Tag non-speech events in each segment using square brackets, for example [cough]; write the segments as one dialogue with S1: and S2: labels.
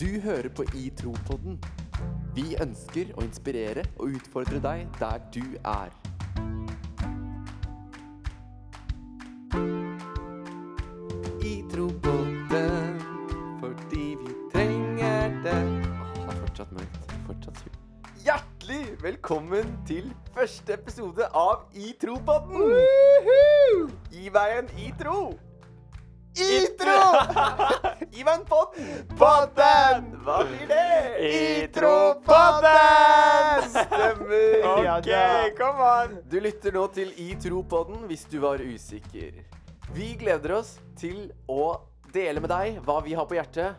S1: Du hører på I Tro-podden. Vi ønsker å inspirere og utfordre deg der du er. I Tro-podden fordi vi trenger det. Åh, det er fortsatt mørkt. Fortsatt surt. Hjertelig velkommen til første episode av I Tro-podden! Gi meg en I Tro! I [laughs] Gi meg en podden! Podden! Hva blir det?
S2: Itropodden!
S1: Stemmer.
S2: Ok,
S1: kom on! Du lytter nå til I tro-podden hvis du var usikker. Vi gleder oss til å dele med deg hva vi har på hjertet.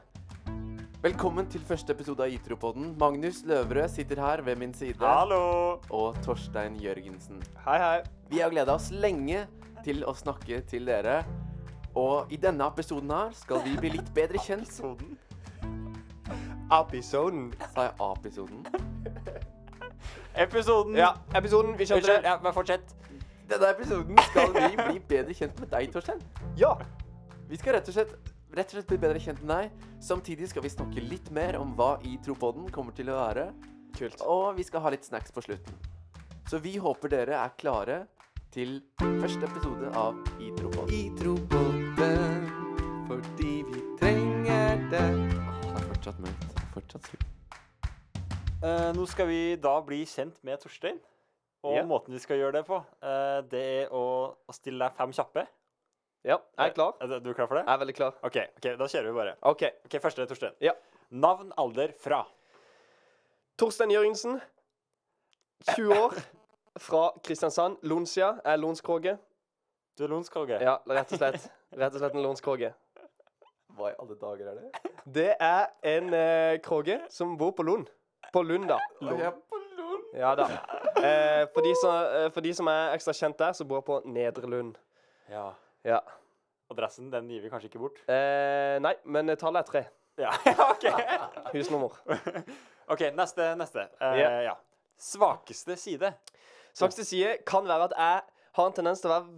S1: Velkommen til første episode av I tro-podden. Magnus Løverød sitter her ved min side.
S2: Hallo!
S1: Og Torstein Jørgensen.
S2: Hei, hei.
S1: Vi har gleda oss lenge til å snakke til dere. Og i denne episoden her skal vi bli litt bedre kjent.
S2: Episoden. Episoden.
S1: Sa jeg A-episoden?
S3: Episoden.
S2: Ja, episoden. Vi skjønte
S3: Unnskyld.
S2: det.
S3: Ja, bare fortsett.
S1: Denne episoden skal vi bli bedre kjent med deg, Torstein.
S2: Ja.
S1: Vi skal rett og slett, rett og slett bli bedre kjent med deg. Samtidig skal vi snakke litt mer om hva i Tropodden kommer til å være.
S2: Kult.
S1: Og vi skal ha litt snacks på slutten. Så vi håper dere er klare til første episode av I Tropodden. I Tropodden fordi vi trenger det. Det er fortsatt mørkt. Det er Fortsatt surt.
S3: Eh, nå skal vi da bli kjent med Torstein. Og
S2: Ja.
S3: måten vi skal gjøre det på, eh, det er å, å stille deg fem kjappe. Eh,
S2: Ja, jeg er klar.
S3: Er du- du er klar for det?
S2: Jeg er veldig klar.
S3: OK, ok, da kjører vi bare.
S2: OK.
S3: Ok, Første, Torstein.
S2: Ja.
S3: Navn, alder, fra.
S2: Torstein Jørgensen, 20 år, fra Kristiansand. Lonsia. Jeg er lonskråke.
S3: Du er lonsk, Åge.
S2: Ja, rett og slett. Rett og slett en lonskråke.
S1: Hva i alle dager er det?
S2: Det er en eh, kråke som bor på Lund. På Lund, da.
S1: Jeg er på Lund.
S2: Ja da. Eh, for, de som, eh, for de som er ekstra kjent der, så bor jeg på Nedre Lund.
S3: Ja.
S2: Ja.
S3: Adressen den gir vi kanskje ikke bort.
S2: Eh, nei, men tallet er tre.
S3: Ja, [laughs] OK.
S2: Husnummer.
S3: ok, Neste. neste. Eh,
S2: Ja.
S3: ja. Svakeste side.
S2: Svakeste side kan være at jeg har en tendens til å være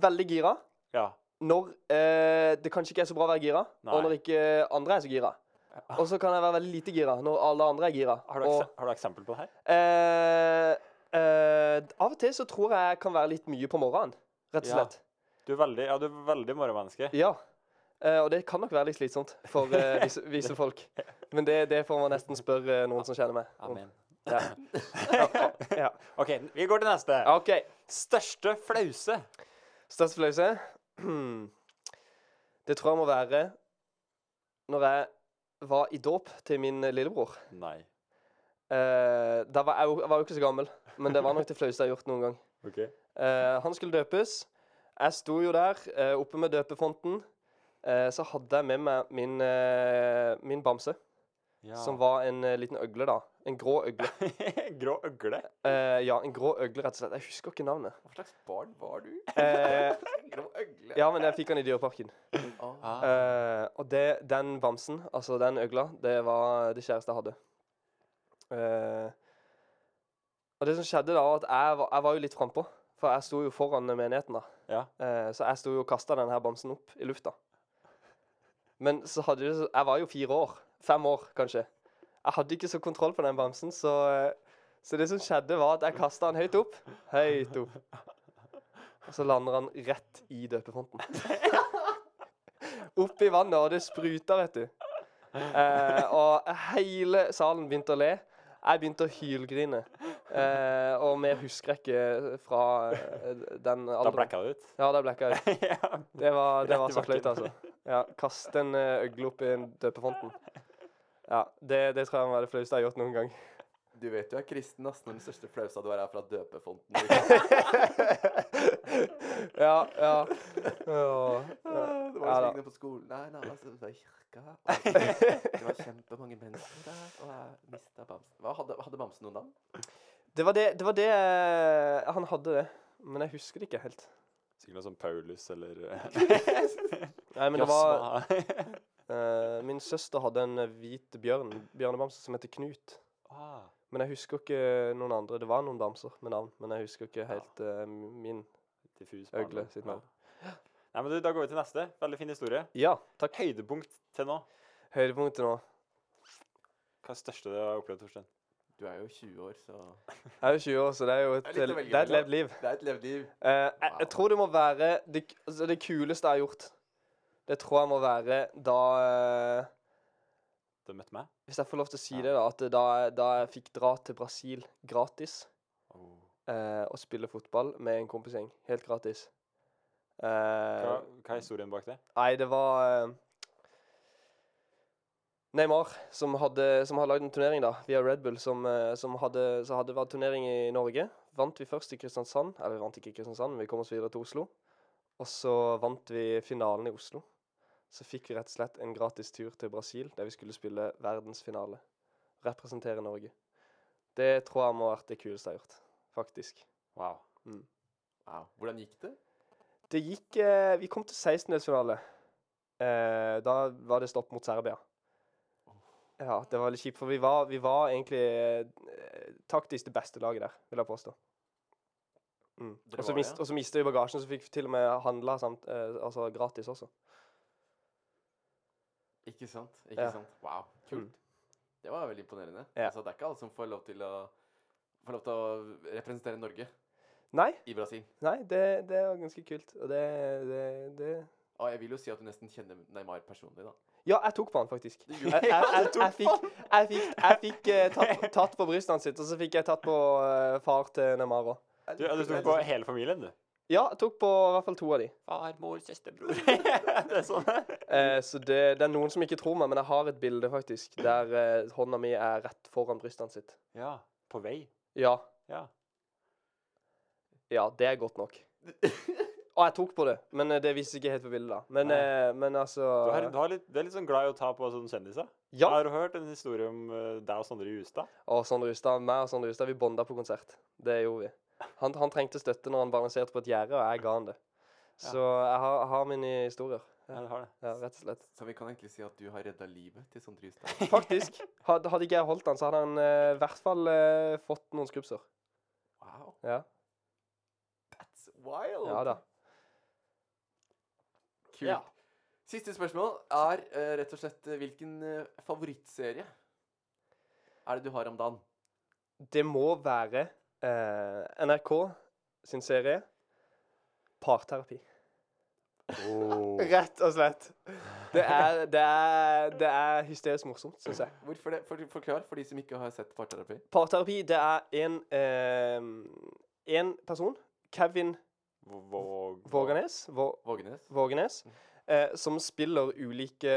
S2: veldig gira
S3: Ja.
S2: når eh, det kanskje ikke er så bra å være gira,
S3: Nei.
S2: og når ikke andre er så gira. Og så kan jeg være veldig lite gira når alle andre er gira.
S3: Har du,
S2: og,
S3: ekse- har du eksempel på det her?
S2: eh, eh, av og til så tror jeg jeg kan være litt mye på morgenen, rett og
S3: Ja.
S2: slett.
S3: Du er veldig, ja, du er veldig morgenmenneske.
S2: Ja. Eh, og det kan nok være litt slitsomt for eh, visse, visse
S3: [laughs]
S2: folk. Men det, det får man nesten spørre eh, noen som kjenner meg. om.
S3: Amen.
S2: Ja. Ja.
S3: OK, vi går til neste.
S2: Ja, OK.
S3: Største flause.
S2: Største flause? Det tror jeg må være når jeg var i dåp til min lillebror.
S3: Nei.
S2: Eh, da var jeg, jo, jeg var jo ikke så gammel, men det var nok det flaueste jeg har gjort noen gang.
S3: Ok.
S2: Eh, han skulle døpes. Jeg sto jo der eh, oppe med døpefonten. Eh, så hadde jeg med meg min, eh, min bamse,
S3: Ja. [laughs]
S2: som var en eh, liten øgle, da. En grå øgle.
S3: Grå øgle?
S2: Eh, ja, en grå øgle, rett og slett. Jeg husker ikke navnet.
S1: Hva slags barn var
S3: [laughs]
S1: du?
S2: Eh,
S1: Grå øgle.
S2: ja, men jeg fikk han i Dyreparken.
S1: Ah,
S2: Eh, og det, den bamsen, altså den øgla, det var det kjæreste jeg hadde. Eh, og det som skjedde da, var at jeg var, jeg var jo litt frampå, for jeg sto jo foran menigheten da.
S3: Ja.
S2: Eh, så jeg sto jo og kasta den her bamsen opp i lufta. Men så hadde det, jeg var jo fire år. Fem år, kanskje. Jeg hadde ikke så kontroll på den bamsen, så, eh, så det som skjedde, var at jeg kasta den høyt opp. Høyt opp. Og så lander han rett i døpefonten oppi vannet, og det spruta, vet du. Eh, og hele salen begynte å le. Jeg begynte å hylgrine. Eh, og mer husker jeg ikke fra eh, den
S3: Da
S2: alderen.
S3: blacka det ut.
S2: Ja, da blekka jeg ut.
S3: [laughs] ja.
S2: Det
S3: [laughs]
S2: var, det
S3: Rett
S2: var
S3: i
S2: så
S3: bakken.
S2: flaut, altså. Ja, Kaste en eh, øgle opp i en døpefonten. Ja, det, det tror jeg var det flaueste jeg har gjort noen gang.
S1: Du vet du er kristen, ass, når den største flausa du har, er fra døpefonten. liksom.
S2: Ja, ja. Åh, ja.
S1: det var jo
S2: Ja da.
S1: slik det på skolen. Nei, nei, altså, det var kirka. [laughs] og Det var kjempemange mennesker der, og jeg mista bamsen. Hva, hadde, hadde bamsen noen navn?
S2: Det var det, det var det eh, Han hadde det, men jeg husker det ikke helt.
S3: Sikkert noe som Paulus eller eh, [laughs]
S2: Nei, men det var
S3: Josma.
S2: Eh, min søster hadde en eh, hvit bjørn, bjørnebamse som heter Knut.
S3: ah.
S2: Men jeg husker ikke noen andre. Det var noen bamser med navn, men jeg husker ikke helt eh, min.
S3: Diffus
S2: Øgle
S3: barndom.
S2: sitt
S3: Ja.
S2: navn.
S3: [gasps] Nei, men du, Da går vi til neste. Veldig fin historie.
S2: Ja, takk.
S3: Høydepunkt til nå.
S2: Høydepunktet nå.
S3: Hva er det største du har opplevd, Torstein?
S1: Du er jo 20 år, så
S2: Jeg er jo 20 år, så det er jo et,
S1: Det er litt å velge
S2: det er et
S1: mellom.
S2: levd liv.
S1: Det er et levd liv.
S2: Eh, jeg, jeg tror det må være det, k- altså det kuleste jeg har gjort. Det tror jeg må være da eh,
S3: Du møtte meg?
S2: Hvis jeg får lov til å si
S3: Ja.
S2: det, da. At da, jeg- da jeg fikk dra til Brasil gratis
S3: Oh.
S2: eh, og spille fotball med en kompisgjeng. Helt gratis. Eh,
S3: Hva, hva er historien bak det?
S2: Nei, det var eh, Neymar som hadde, som hadde lagd en turnering da, via Red Bull, som, eh, som hadde, så hadde vært turnering i Norge. Vant vi først i Kristiansand, eller vi vant ikke i Kristiansand, men vi kom oss videre til Oslo. Og så vant vi finalen i Oslo. Så fikk vi rett og slett en gratis tur til Brasil, der vi skulle spille verdensfinale. Representere Norge. Det tror jeg må ha vært det kuleste jeg har gjort, faktisk.
S3: Wow.
S1: Wow. Hvordan gikk det?
S2: Det gikk eh, Vi kom til 16-delsfinale. Eh, da var det stopp mot Serbia. Ja, det var litt kjipt, for vi var, vi var egentlig eh, taktisk det beste laget der, vil jeg påstå. Mm.
S1: Dere
S2: Og
S1: var
S2: så
S1: det, ja.
S2: mist, og så mistet vi bagasjen, så fikk vi til og med handla samt, eh, altså gratis også.
S1: Ikke sant? Ikke
S2: Ja.
S1: sant? Wow, kult.
S2: Mm.
S1: Det var veldig imponerende.
S2: Ja.
S1: Altså, det er ikke alle som får lov til å Får lov til å representere Norge
S2: Nei,
S1: i Brasil.
S2: nei, det, det var ganske kult. Og det, det, det
S1: Og jeg vil jo si at du nesten kjenner Neymar personlig, da.
S2: Ja, jeg tok på han faktisk.
S1: Du
S2: Jeg,
S1: gjorde
S2: jeg, jeg, jeg, fikk, jeg fikk, jeg fikk eh, tatt, tatt på brystet hans, sitt, og så fikk jeg tatt på eh, far til Neymar òg.
S3: Du, ja, du tok på hele familien, du?
S2: Ja, jeg tok på i hvert fall to av de.
S3: Far, mor, [laughs] søsterbror. det er [laughs] sånn.
S2: Eh, så det, det er noen som ikke tror meg, men jeg har et bilde faktisk der eh, hånda mi er rett foran brystet sitt.
S3: Ja. På vei.
S2: Ja,
S3: Ja.
S2: ja, det er godt nok. Og jeg tok på det, men eh, det vises ikke helt på bildet. da. Men, eh, men altså
S3: Du er, du, har litt, du er litt sånn glad i å ta på sånne kjendiser.
S2: Ja.
S3: Har du hørt en historie om eh, deg og Sondre Justad?
S2: Og Sondre Justad, meg og Sondre Justad, vi bonda på konsert. Det gjorde vi. Han, han trengte støtte når han balanserte på et gjerde, og jeg ga han det. Så jeg har, jeg har mine historier.
S3: Ja, du har det.
S2: Ja, rett og slett.
S1: Så vi kan egentlig si at du har redda livet til Sondre Justad.
S2: Faktisk. Hadde, hadde ikke jeg holdt han, så hadde han eh, i hvert fall eh, fått noen skrubbsår.
S1: Wow.
S2: Ja.
S1: That's wild.
S2: ja da.
S1: Kult.
S3: Ja.
S1: Siste spørsmål er eh, rett og slett eh, hvilken eh, favorittserie er det du har om dagen?
S2: Det må være eh, NRK sin serie Parterapi. Oh.
S3: [laughs]
S2: Rett og slett. Det er, det er, det er hysterisk morsomt, syns jeg.
S1: Hvorfor det? For, forklar for de som ikke har sett parterapi.
S2: Parterapi, det er en eh, En person, Kevin
S3: Våg...
S2: Våganes, Vå,
S1: Vågenes.
S2: Vågenes, eh, som spiller ulike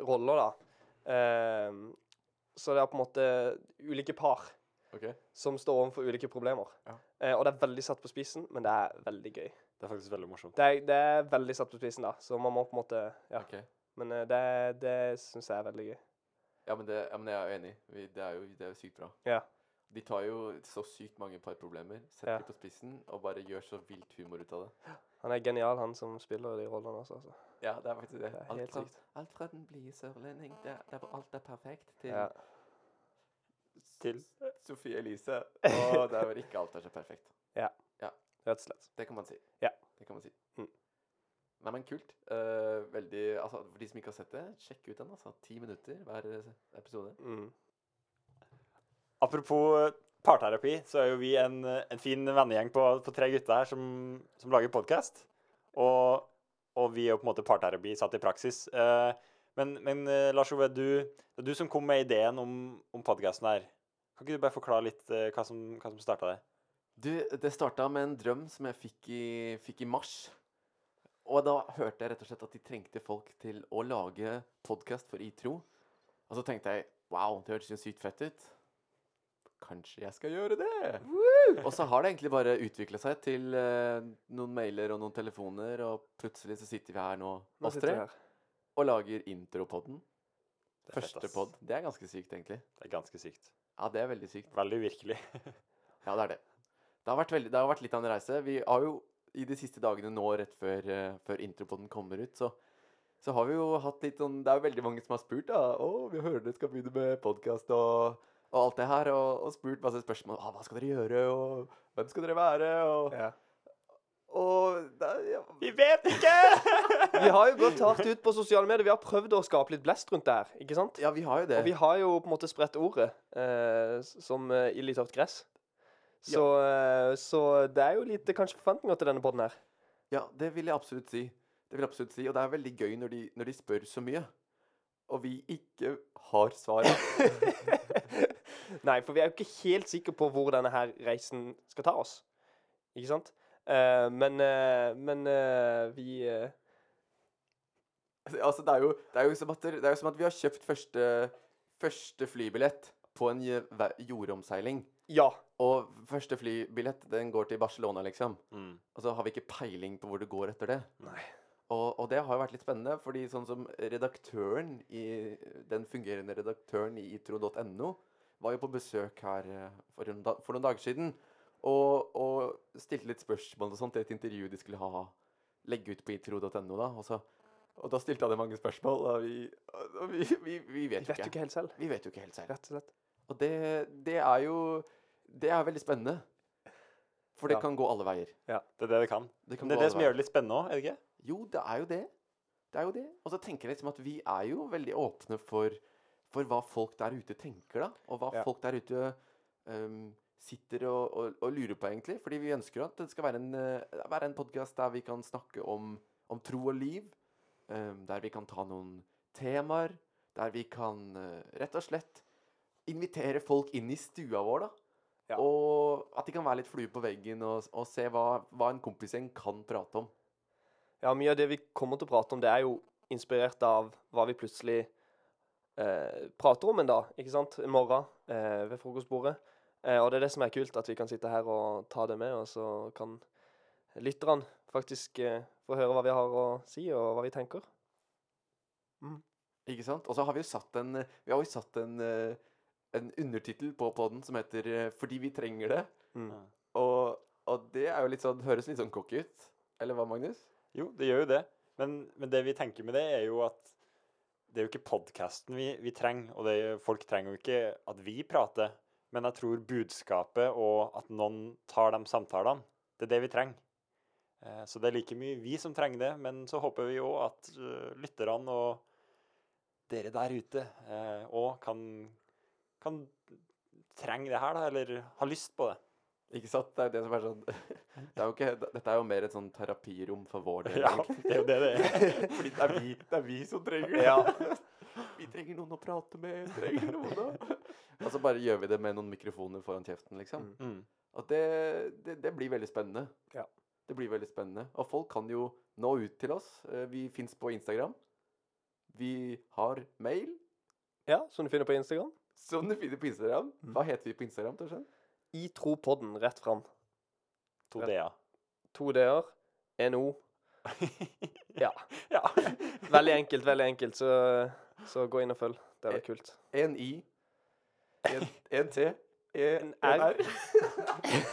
S2: roller, da. Eh, så det er på en måte ulike par.
S1: Ok.
S2: som står overfor ulike problemer.
S1: Ja.
S2: Eh, og det er veldig satt på spissen, men det er veldig gøy.
S3: Det er faktisk veldig morsomt.
S2: Det er, det er veldig satt på spissen, da, så man må på en måte Ja.
S1: Ok.
S2: Men eh, det, det syns jeg er veldig gøy.
S1: Ja, men, det, ja, men jeg er jo enig. Vi, det, er jo, det er jo sykt bra.
S2: Ja.
S1: De tar jo så sykt mange parproblemer, setter
S2: Ja.
S1: de på spissen og bare gjør så vilt humor ut av det.
S2: Han er genial, han som spiller de rollene også. Altså.
S1: Ja, det er faktisk det.
S2: Det er
S1: Alt
S2: helt
S1: fra,
S2: sykt.
S1: alt fra den blide sørlending, der, der hvor alt er perfekt, til
S2: Ja.
S3: Til
S1: Sofie
S2: [laughs]
S1: Elise. Og der hvor ikke alt er så perfekt.
S2: Rett og slett.
S1: Det kan man si.
S2: Ja.
S1: Det kan man si.
S2: Mm.
S1: Nei, men kult. Eh, veldig Altså, for de som ikke har sett det, sjekk ut den, altså. Ti minutter hver eh, episode.
S2: Mm.
S3: Apropos eh, parterapi, så er jo vi en, eh, en fin vennegjeng på, på tre gutter her som, som lager podkast. Og, og vi er jo på en måte parterapi satt i praksis. Eh, men men eh, Lars Ove, du, det er du som kom med ideen om, om podkasten her. Kan ikke du bare forklare litt eh, hva som, hva som starta det?
S1: Du, det starta med en drøm som jeg fikk i, fikk i mars. Og da hørte jeg rett og slett at de trengte folk til å lage podkast for ITRO. Og så tenkte jeg wow, det hørtes jo sykt fett ut. Kanskje jeg skal gjøre det? Og så har det egentlig bare utvikla seg til eh, noen mailer og noen telefoner, og plutselig så sitter vi her nå,
S2: Nå
S1: oss
S2: sitter
S1: tre,
S2: vi her.
S1: og lager intropodden.
S3: Det er fett,
S1: Første
S3: ass.
S1: pod. Det er ganske sykt, egentlig.
S3: Det er ganske sykt.
S1: Ja, det er veldig sykt.
S3: Veldig uvirkelig.
S1: Ja, det er det. Det har vært, veldig, det har vært litt av en reise. Vi har jo i de siste dagene nå, rett før, uh, før intropoden kommer ut, så, så har vi jo hatt litt sånn Det er jo veldig mange som har spurt, da. 'Å, vi hører dere skal begynne med podkast', og, og alt det her. Og, og spurt masse spørsmål. Ah, 'Hva skal dere gjøre?' Og 'Hvem skal dere være?' Og,
S2: Ja.
S1: Og da, ja.
S3: Vi vet ikke!
S2: [laughs] Vi har jo gått hardt ut på sosiale medier. Vi har prøvd å skape litt blest rundt det her. ikke sant?
S1: ja, vi har jo
S2: Og vi
S1: det.
S2: har jo på en måte spredt ordet eh, s- som eh, i litt tørt gress. Så, eh, så det er jo litt eh, kanskje forventninger til denne podden her.
S1: Ja, det vil jeg absolutt si. Det vil jeg absolutt si. Og det er veldig gøy når de, når de spør så mye, og vi ikke har svaret.
S2: [laughs] Nei, for vi er jo ikke helt sikre på hvor denne her reisen skal ta oss. Ikke sant? Eh, men eh, men eh, vi eh,
S1: altså, det er, jo, det, er jo som at, det det er jo som at vi har kjøpt første, første flybillett på en je- ver- jordomseiling.
S2: Ja.
S1: Og første flybillett, den går til Barcelona, liksom.
S3: Mm.
S1: Og så har vi ikke peiling på hvor det går etter det.
S2: Nei.
S1: Og, og det har jo vært litt spennende, fordi sånn som redaktøren i Den fungerende redaktøren i itro.no var jo på besøk her eh, for, en da, for noen dager siden. Og, og stilte litt spørsmål og sånt til et intervju de skulle ha legge ut på itro.no. da Og, så, og da stilte han dem mange spørsmål, og vi, og vi, vi, vi
S2: Vi
S1: vet jo
S2: vet jo
S1: ikke.
S2: ikke helt selv,
S1: Vi vet jo ikke helt selv.
S2: rett og slett.
S1: Og det, det er jo Det er veldig spennende. For det
S2: Ja.
S1: kan gå alle veier.
S3: Det er det det kan.
S1: Det, kan
S3: Men det
S1: gå
S3: er det
S1: alle
S3: som
S1: veier.
S3: gjør det litt spennende òg, er det ikke?
S1: Jo, det er jo det. Det er jo det. Og så tenker jeg liksom at vi er jo veldig åpne for, for hva folk der ute tenker, da. Og hva
S2: Ja.
S1: folk der ute øhm, sitter og, og, og lurer på, egentlig. Fordi vi ønsker jo at det skal være en, øh, være en podkast der vi kan snakke om, om tro og liv. øhm, der vi kan ta noen temaer. Der vi kan øh, rett og slett invitere folk inn i stua vår, da.
S2: Ja.
S1: Og at de kan være litt flue på veggen og, og se hva, hva en kompisgjeng kan prate om.
S2: Ja, mye av det vi kommer til å prate om, det er jo inspirert av hva vi plutselig eh, prater om en dag, ikke sant? En morgen eh, ved frokostbordet. Eh, og det er det som er kult, at vi kan sitte her og ta det med, og så kan lytterne faktisk eh, få høre hva vi har å si, og hva vi tenker.
S1: Ikke sant? Og så har vi jo satt en eh, Vi har jo satt en, eh, en undertittel på podden som heter eh, 'Fordi vi trenger det'.
S2: Mm.
S3: Ja.
S1: Og, og det er jo litt sånn høres litt sånn cocky ut. Eller hva, Magnus?
S3: Jo, det gjør jo det. Men, men det vi tenker med det, er jo at det er jo ikke podkasten vi, vi trenger, og det, er- folk trenger jo ikke at vi prater, men jeg tror budskapet og at noen tar de samtalene, det er det vi trenger. Eh, Så det er like mye vi som trenger det, men så håper vi òg at eh, lytterne og dere der ute òg kan, kan trenge det her, da, eller ha lyst på det.
S1: Ikke sant? Det er jo det som er sånn [laughs] det er jo ikke, d- Dette er jo mer et sånn terapirom for vår del.
S3: [laughs] Ja,
S1: egentlig. [laughs]
S3: det er jo det det er. [laughs]
S1: Fordi det er, vi, det er vi som trenger det. [laughs] Vi trenger noen å prate med. trenger noen å... Og så bare gjør vi det med noen mikrofoner foran kjeften, liksom.
S2: Mm.
S3: Mm.
S1: Og det, det, det blir veldig spennende.
S2: Ja.
S1: Det blir veldig spennende. Og folk kan jo nå ut til oss. Eh, Vi fins på Instagram. Vi har mail,
S2: Ja, som du finner på Instagram.
S1: som du finner på Instagram.
S2: Mm.
S1: Hva heter vi på Instagram? Torstein?
S2: I tropodden, rett fram.
S3: To d-er.
S2: To d-er, en o. Ja.
S3: Ja.
S2: Veldig enkelt, veldig enkelt, så, så gå inn og følg. Det er kult.
S1: En I, en, en T,
S3: Eh,
S1: en,
S2: En R.
S1: R.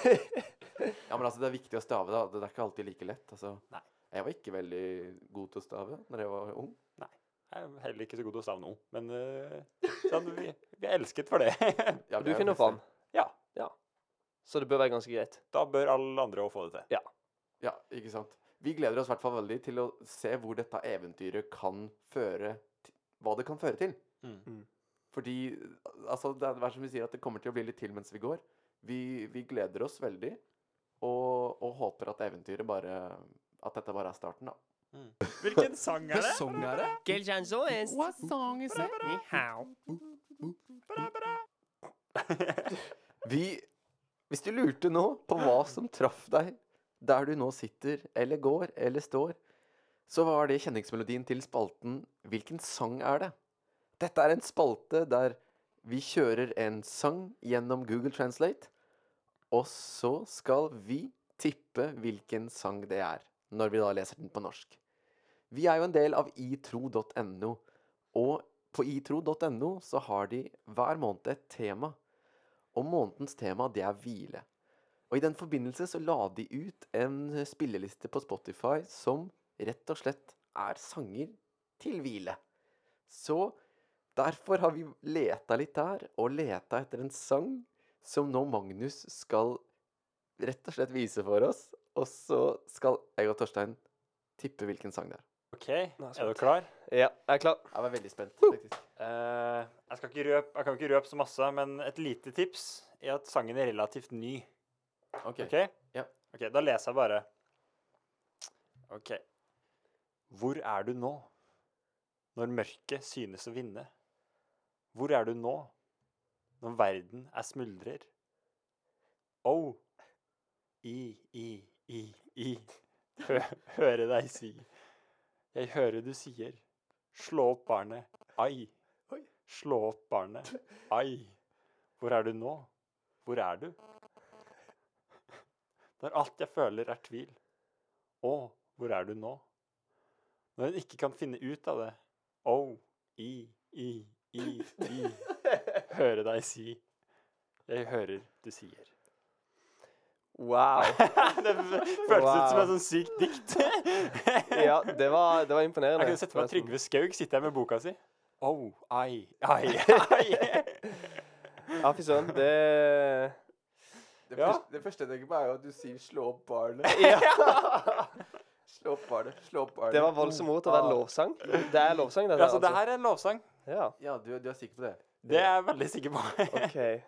S1: ja, men altså, det er viktig å stave, da. Det er ikke alltid like lett. Altså.
S3: Nei.
S1: Jeg var ikke veldig god til å stave når jeg var ung.
S3: Jeg er heller ikke så god til å stave nå, men eh, sånn, vi, vi er elsket for det. [laughs]
S1: Ja,
S2: Du
S1: vi er jo
S2: finner
S1: flest-
S2: fram.
S3: eh. Ja.
S2: Så det bør være ganske greit.
S3: Da bør alle andre òg få det til.
S1: Ja, ikke sant. Vi gleder oss i hvert fall veldig til å se hvor dette eventyret kan føre til, Hva det kan føre til.
S3: Mm.
S2: Mm.
S1: Fordi altså, det er hver som vi sier at det kommer til å bli litt til mens vi går. Vi, vi gleder oss veldig og, og håper at eventyret bare At dette bare er starten, da.
S3: Hvilken sang er det?
S1: What song is it? Vi Hvis du lurte nå på hva som traff deg der du nå sitter, eller går, eller står, så var det kjenningsmelodien til spalten Hvilken sang er det? Dette er en spalte der vi kjører en sang gjennom Google Translate, og så skal vi tippe hvilken sang det er, når vi da leser den på norsk. Vi er jo en del av itro.no, og på itro.no så har de hver måned et tema. Og månedens tema, det er hvile. Og i den forbindelse så la de ut en spilleliste på Spotify som rett og slett er sanger til hvile. Så derfor har vi leta litt der, og leta etter en sang som nå Magnus skal rett og slett vise for oss, og så skal jeg og Torstein tippe hvilken sang det er.
S3: OK,
S2: Nå er jeg
S3: er du
S2: spent.
S3: klar?
S2: Ja, jeg er klar.
S1: Jeg var veldig spent, faktisk.
S3: Eh, jeg, skal ikke røpe, jeg kan ikke røpe så masse, men et lite tips er at sangen er relativt ny.
S1: Ok.
S3: OK?
S1: Ja.
S3: Ok, Da leser jeg bare. OK. Hvor er du nå? Når mørket synes å vinne. Hvor er du nå? Når verden er smuldrer. Oh. I, i, i, i. [laughs] Hø høre deg si. Jeg hører du sier. Slå opp barnet. Ai.
S1: Oi.
S3: Slå opp barnet. Ai. Hvor er du nå? Hvor er du? Når alt jeg føler er tvil. Å, hvor er du nå? Når hun ikke kan finne ut av det. Å, i, i, i, i. Høre deg si. Jeg hører du sier.
S2: Wow.
S3: det føltes ut som
S2: [laughs] Wow.
S3: et sånn sykt dikt. [laughs]
S2: Ja, det var, det var imponerende.
S3: Jeg kunne sett for meg
S2: forresten.
S3: Trygve Skaug sitte her med boka si. Oh, ai,
S2: [laughs]
S3: ai, ai.
S2: Ja, fy søren. Det
S1: Det,
S3: Ja.
S1: første, det første jeg tenker på, er jo at du sier 'slå opp
S3: [laughs]
S1: barnet'. [laughs] slå opp barnet, slå opp barnet. Mm.
S2: Det var voldsomt ord til å være lovsang. Det er lovsang, dette.
S3: altså, det her er en lovsang.
S2: Ja,
S1: Ja, du, du er sikker på det?
S3: Det er jeg veldig sikker på. [laughs]
S2: OK.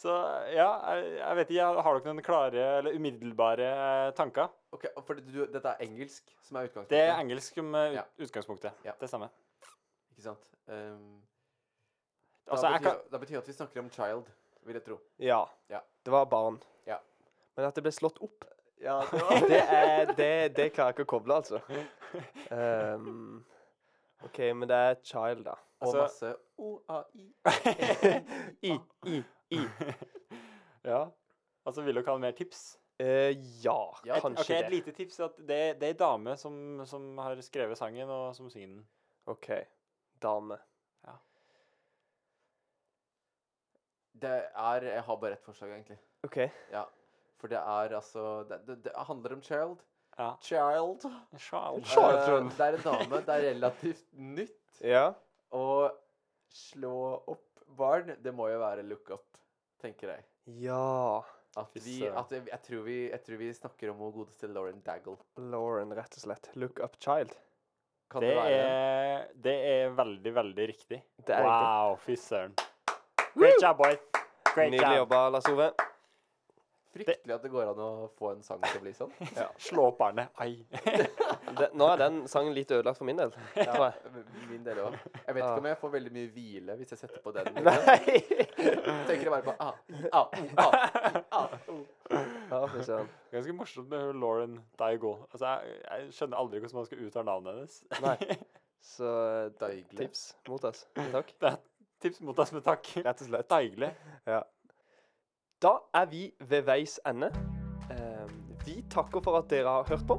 S3: Så ja, jeg, jeg vet ikke. Har dere noen klare eller umiddelbare eh, tanker?
S1: Ok, For du, du, dette er engelsk som er utgangspunktet?
S3: Det er engelsk som eh, ut-
S1: Ja.
S3: utgangspunktet.
S1: Ja.
S3: Det stemmer.
S1: Ikke sant? Um, da,
S3: Altså, jeg
S1: betyr,
S3: kan,
S1: da betyr det at vi snakker om child, vil jeg tro.
S2: Ja.
S1: Ja.
S2: Det var barn.
S1: Ja.
S2: Men at det ble slått opp,
S1: Ja, [laughs]
S2: det, er, det, det klarer jeg ikke å koble, altså. Ehm, OK, men det er child, da.
S1: Og
S3: altså-
S1: masse O-A-I.
S2: I, i, i.
S3: ja. Altså, vil dere ha mer tips?
S2: Eh, ja,
S1: Ja, et-
S2: kanskje
S3: Ok, Et
S2: det.
S3: lite tips er at det, det er ei dame som, som har skrevet sangen, og som synger den.
S2: OK. Dame.
S1: Det er Jeg har bare ett forslag, egentlig.
S2: OK.
S1: Ja. For det er altså Det, det, det handler om child.
S3: Ja.
S1: Child.
S3: Child.
S2: Children.
S1: Eh, det er en dame. Det er relativt nytt.
S2: Ja.
S1: Og slå opp barn, det må jo være look up, tenker jeg.
S2: Ja.
S1: At
S3: Fy
S1: vi,
S3: søren.
S1: at jeg, jeg, tror vi, jeg tror vi snakker om hun godeste Lauren Daggle.
S2: Lauren, rett og slett. Look up child.
S1: Kan det,
S3: Det
S1: være den?
S3: er, det er veldig, veldig riktig.
S2: Det er riktig.
S3: wow, fy søren. Great job, boy. Great
S2: Nydelig
S3: job.
S2: jobba, Lars Ove.
S1: Fryktelig at det går an å få en sang til å bli sånn.
S3: Slå opp barnet. Ai.
S2: Det- Nå er den sangen litt ødelagt for min del. tror jeg.
S1: Min del òg. Jeg vet
S2: Ah.
S1: ikke om jeg får veldig mye hvile hvis jeg setter på den. liksom.
S2: [laughs] Nei!
S1: Tenker jeg bare på ah, ah, ah, ah.
S2: Ja, fy søren.
S3: Ganske morsomt med hun Lauren Daigle. Altså, jeg, jeg skjønner aldri hvordan man skal uttale navnet hennes.
S2: [laughs]
S3: [laughs]
S2: Nei. Så eh,
S1: Deigle.
S2: tips mot oss. Takk.
S3: Det er tips mot oss med takk.
S2: Rett og slett.
S3: Deigle.
S2: Da er vi ved veis ende. Eh, Vi takker for at dere har hørt på.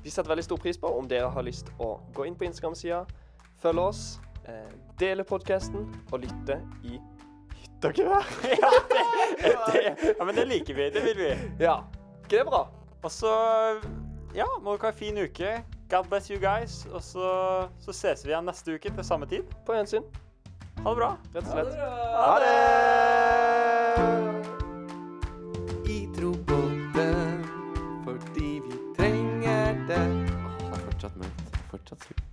S2: Vi setter veldig stor pris på om dere har lyst å gå inn på Instagram-sida, følge oss, eh, dele podkasten og lytte i hytt og gevær.
S3: Det, ja, men det liker vi. Det vil vi.
S2: Ja. Ikke det bra?
S3: Og så Ja, må dere ha en fin uke. God bless you guys. Og så, så ses vi igjen neste uke til samme tid.
S2: På gjensyn,
S3: Ha det bra.
S2: rett og slett.
S1: Ha det! I tro på den, fordi vi trenger det. Åh, fortsatt mørkt. Fortsatt sykt.